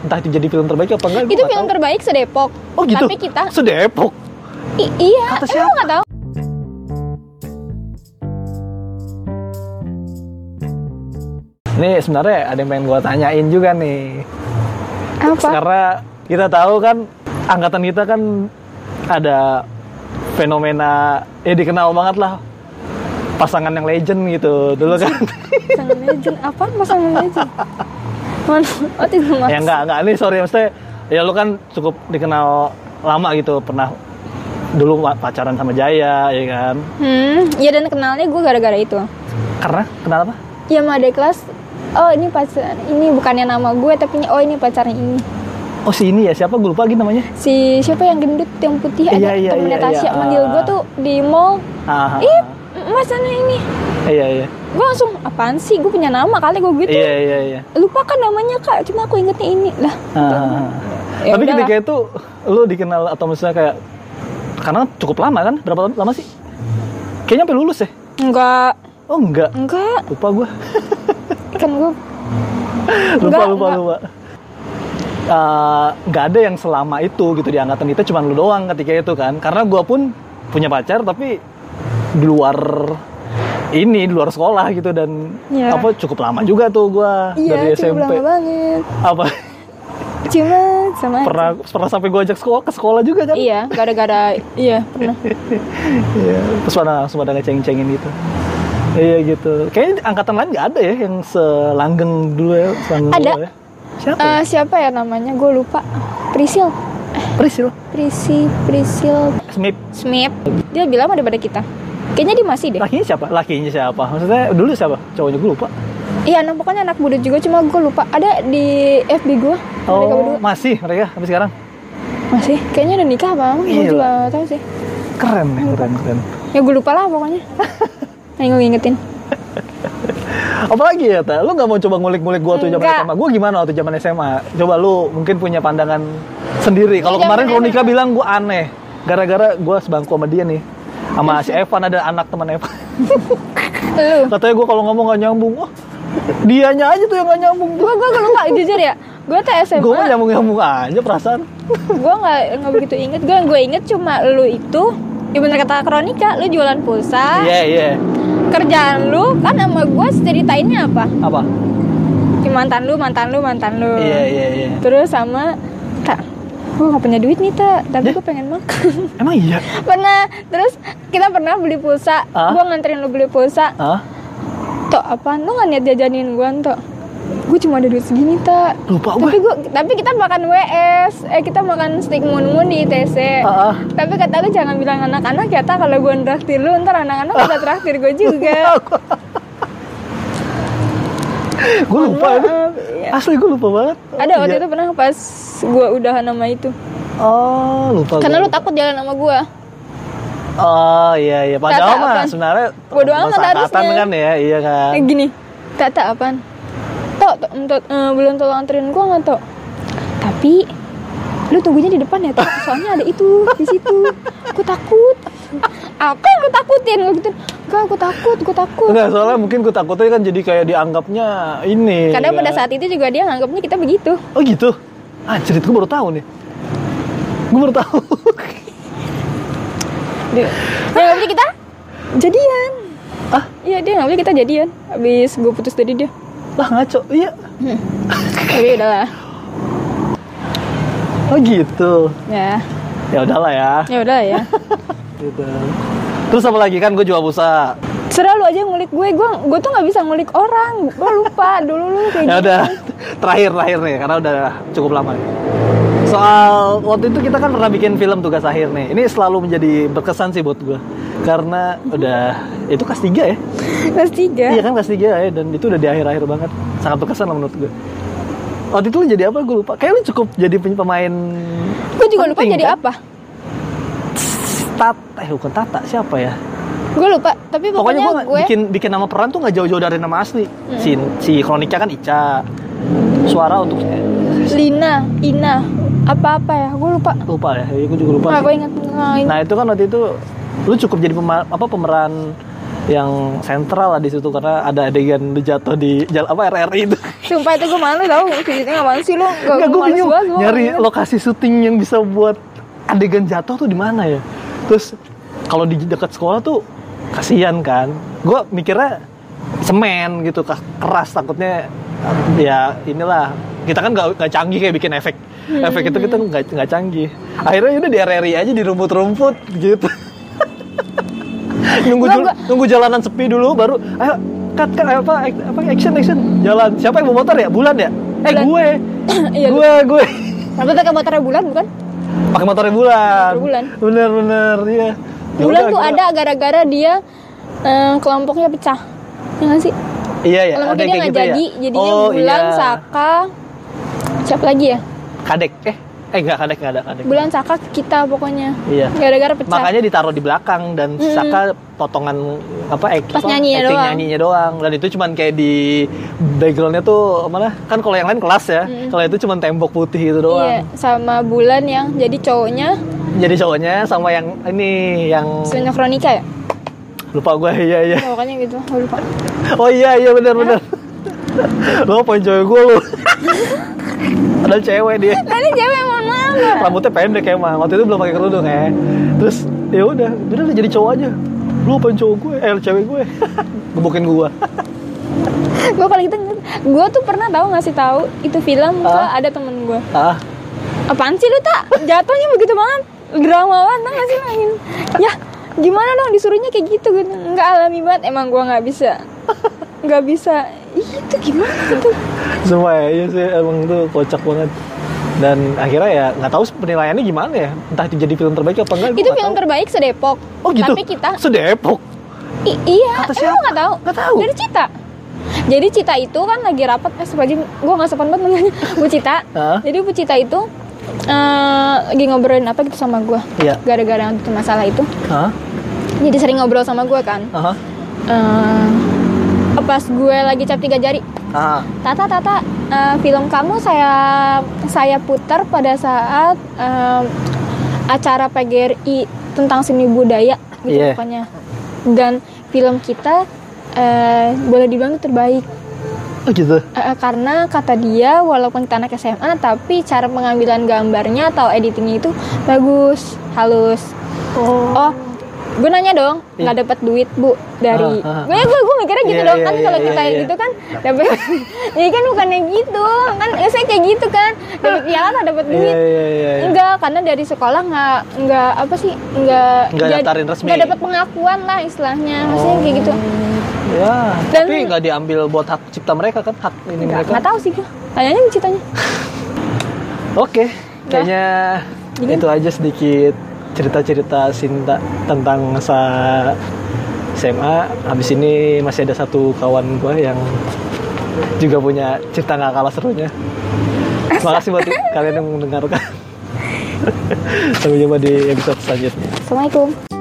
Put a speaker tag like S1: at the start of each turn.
S1: entah itu jadi film terbaik apa enggak gua
S2: itu
S1: nggak
S2: film
S1: tahu.
S2: terbaik sedepok
S1: oh gitu
S2: tapi kita
S1: sedepok
S2: I- iya
S1: Kata
S2: emang
S1: siapa?
S2: nggak tahu
S1: Nih sebenarnya ada yang pengen gua tanyain juga nih.
S2: apa
S1: Karena kita tahu kan angkatan kita kan ada fenomena ya dikenal banget lah pasangan yang legend gitu dulu kan.
S2: Pasangan legend apa pasangan legend mana oh tidak
S1: ya enggak enggak nih sorry maksudnya ya lu kan cukup dikenal lama gitu pernah dulu wa- pacaran sama Jaya ya kan.
S2: hmm ya dan kenalnya gue gara-gara itu
S1: Karena kenapa?
S2: ya mah ada kelas oh ini pacar ini bukannya nama gue tapi oh ini pacarnya ini
S1: Oh si ini ya siapa gue lupa lagi namanya.
S2: si siapa yang gendut yang putih
S1: Iya,
S2: ada
S1: iya,
S2: temennya
S1: iya,
S2: Tasya
S1: iya.
S2: manggil gue tuh di mall
S1: Ah,
S2: ih mas sana ini
S1: iya iya
S2: gue langsung apaan sih gue punya nama kali gue gitu
S1: iya iya iya.
S2: lupa kan namanya kak cuma aku ingetnya ini lah
S1: Ah.
S2: Ya
S1: Tapi
S2: udahlah.
S1: ketika itu lu dikenal atau misalnya kayak karena cukup lama kan? Berapa lama sih? Kayaknya sampai lulus ya?
S2: enggak
S1: Oh enggak,
S2: enggak
S1: lupa gua.
S2: kan gue
S1: lupa
S2: Enggak,
S1: lupa
S2: enggak.
S1: lupa. Eh, Nggak ada yang selama itu gitu di angkatan kita cuman lu doang ketika itu kan. Karena gua pun punya pacar tapi di luar ini di luar sekolah gitu dan
S2: Iya.
S1: apa cukup lama juga tuh gua dari
S2: iya cukup
S1: SMP
S2: lama banget
S1: apa
S2: cuma sama
S1: pernah pernah sampai gua ajak sekolah ke sekolah juga kan
S2: iya gara-gara iya pernah
S1: Iya, terus pada langsung pada ngeceng-cengin gitu. Iya gitu. Kayaknya di angkatan lain nggak ada ya yang selanggeng dulu ya, selanggeng
S2: Ada.
S1: dulu ya. Siapa? ya?
S2: Eh, siapa ya namanya gue lupa Prisil
S1: Prisil,
S2: Prisi Prisil
S1: Smith.
S2: Smith dia lebih lama daripada kita kayaknya dia masih deh
S1: Lakinya siapa? Lakinya siapa? Maksudnya dulu siapa? Cowoknya gue lupa.
S2: iya anak pokoknya anak muda juga cuma gue lupa ada di FB gue mereka
S1: Oh,
S2: berdua
S1: masih mereka sampai sekarang.
S2: masih kayaknya udah nikah apa gue
S1: Gila.
S2: juga gak tahu sih
S1: Keren ya, keren, keren.
S2: ya gue lupa lah pokoknya yang gue ngingetin
S1: Apalagi ya, Ta? Lu nggak mau coba ngulik-ngulik gua tuh zaman
S2: Nggak.
S1: SMA? Gua gimana waktu zaman SMA? Coba lu mungkin punya pandangan sendiri. Kalau
S2: Zaman
S1: kemarin Kronika
S2: SMA.
S1: bilang gua aneh. Gara-gara gua sebangku sama dia nih. Sama
S2: Iya.
S1: si Evan, ada anak teman Evan.
S2: lu
S1: Katanya gue kalau ngomong gak nyambung, wah dianya aja tuh yang gak nyambung.
S2: gue gue lupa jujur ya gue tuh SMA
S1: Gue nyambung nyambung aja perasaan.
S2: gue nggak nggak begitu inget gue yang gue inget cuma lu itu ya bener kata kronika lu jualan pulsa
S1: Iya iya.
S2: kerjaan lu kan sama gue ceritainnya apa
S1: Apa?
S2: Ya, mantan lu mantan lu mantan lu
S1: Iya iya iya.
S2: terus sama tak gue nggak punya duit nih tak tapi
S1: Deh.
S2: gue pengen makan
S1: Emang iya?
S2: pernah terus kita pernah beli pulsa
S1: Ah?
S2: gue nganterin lu beli pulsa
S1: Hah?
S2: tok apa lu nggak niat jajanin gue tok gue cuma ada duit segini tak
S1: Lupa
S2: tapi
S1: gue.
S2: gue tapi kita makan WS eh kita makan steak mun mun di ITC
S1: Ah, ah.
S2: tapi kata lu jangan bilang anak-anak ya tak kalau gue traktir lu ntar anak-anak pada traktir gue
S1: Iya.
S2: juga
S1: gue lupa ini.
S2: Maaf, iya.
S1: Asli gue lupa banget.
S2: ada
S1: Iya.
S2: waktu itu pernah pas gue udahan sama itu
S1: Oh lupa.
S2: karena
S1: gua.
S2: lu takut jalan sama gue
S1: Oh iya iya. Padahal
S2: Tata,
S1: mah
S2: apaan?
S1: sebenarnya.
S2: kan. Bodo
S1: teman
S2: amat
S1: seangkatan
S2: harusnya.
S1: kan ya, iya kan.
S2: Eh, gini tak tak apaan tok tok em, tok, eh, belum tolong anterin gue nggak tok tapi lu tunggunya di depan ya Tok. soalnya ada itu di situ gue takut apa yang lu takutin gue gitu enggak gue takut gue takut
S1: Enggak, soalnya mungkin gue takutnya kan jadi kayak dianggapnya ini.
S2: Karena
S1: kan.
S2: pada saat itu juga dia nganggapnya kita begitu.
S1: Oh gitu? Ah, cerita gue baru tahu nih. Gue baru tahu.
S2: Dia nganggapnya kita jadian.
S1: Ah?
S2: Iya dia nganggapnya kita jadian. Habis gue putus dari dia.
S1: lah ngaco. Iya.
S2: Tapi ya udahlah.
S1: Oh gitu.
S2: Ya,
S1: Ya udahlah ya.
S2: ya udah ya.
S1: Gitu. Terus apa lagi kan gue jual busa.
S2: Serah lu aja ngulik gue. Gue gue tuh nggak bisa ngulik orang. Gue lupa dulu lu kayak
S1: Ya
S2: gitu.
S1: udah terakhir terakhir nih karena udah cukup lama. nih. Soal waktu itu kita kan pernah bikin film tugas akhir nih. Ini selalu menjadi berkesan sih buat gue. Karena udah itu kelas 3 ya.
S2: Kelas tiga.
S1: Iya kan kelas 3 ya dan itu udah di akhir-akhir banget. Sangat berkesan lah menurut gue. Waktu itu lu jadi apa gue lupa. Kayak lu cukup jadi peny- pemain
S2: Gue juga lupa
S1: penting,
S2: jadi
S1: kan?
S2: apa.
S1: Tata, eh bukan Tata, siapa ya?
S2: Gue lupa. Tapi
S1: Pokoknya
S2: pokoknya,
S1: gue
S2: gue. Hmm.
S1: bikin bikin nama peran tuh nggak jauh-jauh dari nama asli. Si si Kronika kan Ica. Suara untuk
S2: Lina, Ina, apa-apa ya? Gue lupa.
S1: lupa ya, gue juga lupa.
S2: Nah,
S1: sih.
S2: gue ingat nah, ini.
S1: Nah itu kan waktu itu lu cukup jadi pema- apa pemeran yang sentral lah di situ karena ada adegan lu jatuh di jalan apa RRI itu.
S2: Sumpah itu gue malu tau Fisiknya gak malu sih lu Gak,
S1: Nggak,
S2: gue
S1: gue
S2: malu
S1: bingung
S2: banget, gua
S1: nyari
S2: malu banget.
S1: lokasi syuting yang bisa buat adegan jatuh tuh di mana ya. Terus kalau di dekat sekolah tuh kasihan kan. Gue mikirnya semen gitu kas- keras takutnya ya inilah kita kan nggak nggak canggih kayak bikin efek
S2: Hmm.
S1: efek itu kita nggak nggak canggih akhirnya udah di area aja di rumput-rumput gitu nunggu
S2: Nggak,
S1: jul-
S2: nggak.
S1: nunggu jalanan sepi dulu baru ayo cut cut ayo, apa ak- apa action action jalan siapa yang bawa motor ya bulan ya eh
S2: Bulan.
S1: gue
S2: Iya, lu-
S1: gue gue
S2: Tapi pakai motornya bulan bukan?
S1: Ya pakai motornya bulan
S2: Motor Bulan.
S1: bener bener iya Ya
S2: Bulan
S1: udah,
S2: tuh
S1: gua-
S2: ada gara-gara dia eh, kelompoknya pecah Ya gak sih?
S1: iya ya ada
S2: Kelompoknya dia
S1: kayak
S2: gak
S1: gitu
S2: jadi
S1: ya
S2: Jadinya
S1: oh,
S2: bulan,
S1: iya.
S2: Saka Siapa lagi ya?
S1: kadek eh eh nggak kadek nggak ada kadek
S2: Bulan, Saka, kita pokoknya
S1: Iya.
S2: Gara-gara pecah
S1: makanya ditaruh di belakang dan
S2: Mm-mm.
S1: Saka potongan apa ek,
S2: Pas
S1: apa,
S2: nyanyinya
S1: acting
S2: doang.
S1: nyanyinya doang dan itu cuman kayak di backgroundnya tuh mana kan kalau yang lain kelas ya
S2: Mm.
S1: kalau itu cuman tembok putih itu
S2: Iya,
S1: doang
S2: sama bulan yang jadi cowoknya
S1: jadi cowoknya sama yang ini yang
S2: Sebenarnya Kronika ya?
S1: lupa gue iya iya
S2: Ya, Pokoknya gitu, gue lupa
S1: Oh iya iya benar benar. Lo apa cewek gue lo? Ada cewek dia.
S2: Tadi cewek mohon maaf ya.
S1: Rambutnya pendek emang. Waktu itu belum pakai kerudung ya. Terus ya udah, udah lah jadi cowok aja. Lu apa cowok gue? Eh cewek gue. Gebukin gue.
S2: gue paling itu gue tuh pernah tahu ngasih tahu itu film ke
S1: Ah.
S2: ada temen gue
S1: Ah,
S2: apaan sih lu tak jatuhnya begitu banget drama banget tau gak sih main ya gimana dong disuruhnya kayak gitu gitu nggak alami banget emang gue nggak bisa nggak bisa Ih, itu gimana gitu
S1: semua ya iya sih emang tuh kocak banget. Dan akhirnya ya nggak tahu penilaiannya gimana ya. Entah itu jadi film terbaik apa enggak. gua
S2: itu
S1: nggak
S2: film
S1: tahu.
S2: terbaik sedepok
S1: Oh gitu.
S2: tapi kita
S1: sedepok.
S2: i- iya
S1: Kata
S2: emang
S1: siapa?
S2: lu nggak tahu
S1: Nggak tahu.
S2: dari cita jadi cita itu kan lagi rapat eh sebagai gue nggak sopan banget namanya bu cita
S1: Ah.
S2: jadi bu cita itu eh, lagi ngobrolin apa gitu sama gue
S1: Iya.
S2: gara-gara yang itu masalah itu
S1: Hah?
S2: jadi sering ngobrol sama gue kan
S1: Aha.
S2: Eh, pas gue lagi cap tiga jari
S1: Ah.
S2: Tata Tata eh, film kamu saya saya putar pada saat eh, acara PGRI tentang seni budaya gitu
S1: Iya.
S2: pokoknya dan film kita eh, boleh dibilang terbaik
S1: Oh gitu.
S2: Eh, eh, karena kata dia walaupun kita anak SMA tapi cara pengambilan gambarnya atau editingnya itu bagus halus
S1: Oh. Iya.
S2: Oh, gue nanya dong, nggak dapat duit bu dari.
S1: Ah, ah, ah.
S2: Gue gue gue mikirnya gitu
S1: Iya,
S2: dong
S1: iya,
S2: kan
S1: iya,
S2: kalau
S1: iya,
S2: kita
S1: iya.
S2: gitu kan dapat. Jadi kan bukannya gitu, kan saya kayak gitu kan dapat piala atau dapat
S1: Iya
S2: duit.
S1: iya iya. iya.
S2: Enggak, karena dari sekolah nggak nggak apa sih nggak
S1: Nggak
S2: jadi-
S1: daftarin resmi. Oh,
S2: nggak dapat pengakuan lah istilahnya, maksudnya kayak gitu.
S1: Ya,
S2: Dan-
S1: tapi nggak diambil buat hak cipta mereka kan, hak ini
S2: Nggak
S1: mereka.
S2: nggak tahu sih gue. Tanyanya ceritanya.
S1: Oke, kayaknya
S2: Nah. Jadi-
S1: itu aja sedikit cerita-cerita Sinta tentang masa SMA. Habis ini masih ada satu kawan gua yang juga punya cerita nggak kalah serunya. Terima kasih buat kalian yang mendengarkan. Sampai jumpa di episode selanjutnya.
S2: Assalamualaikum.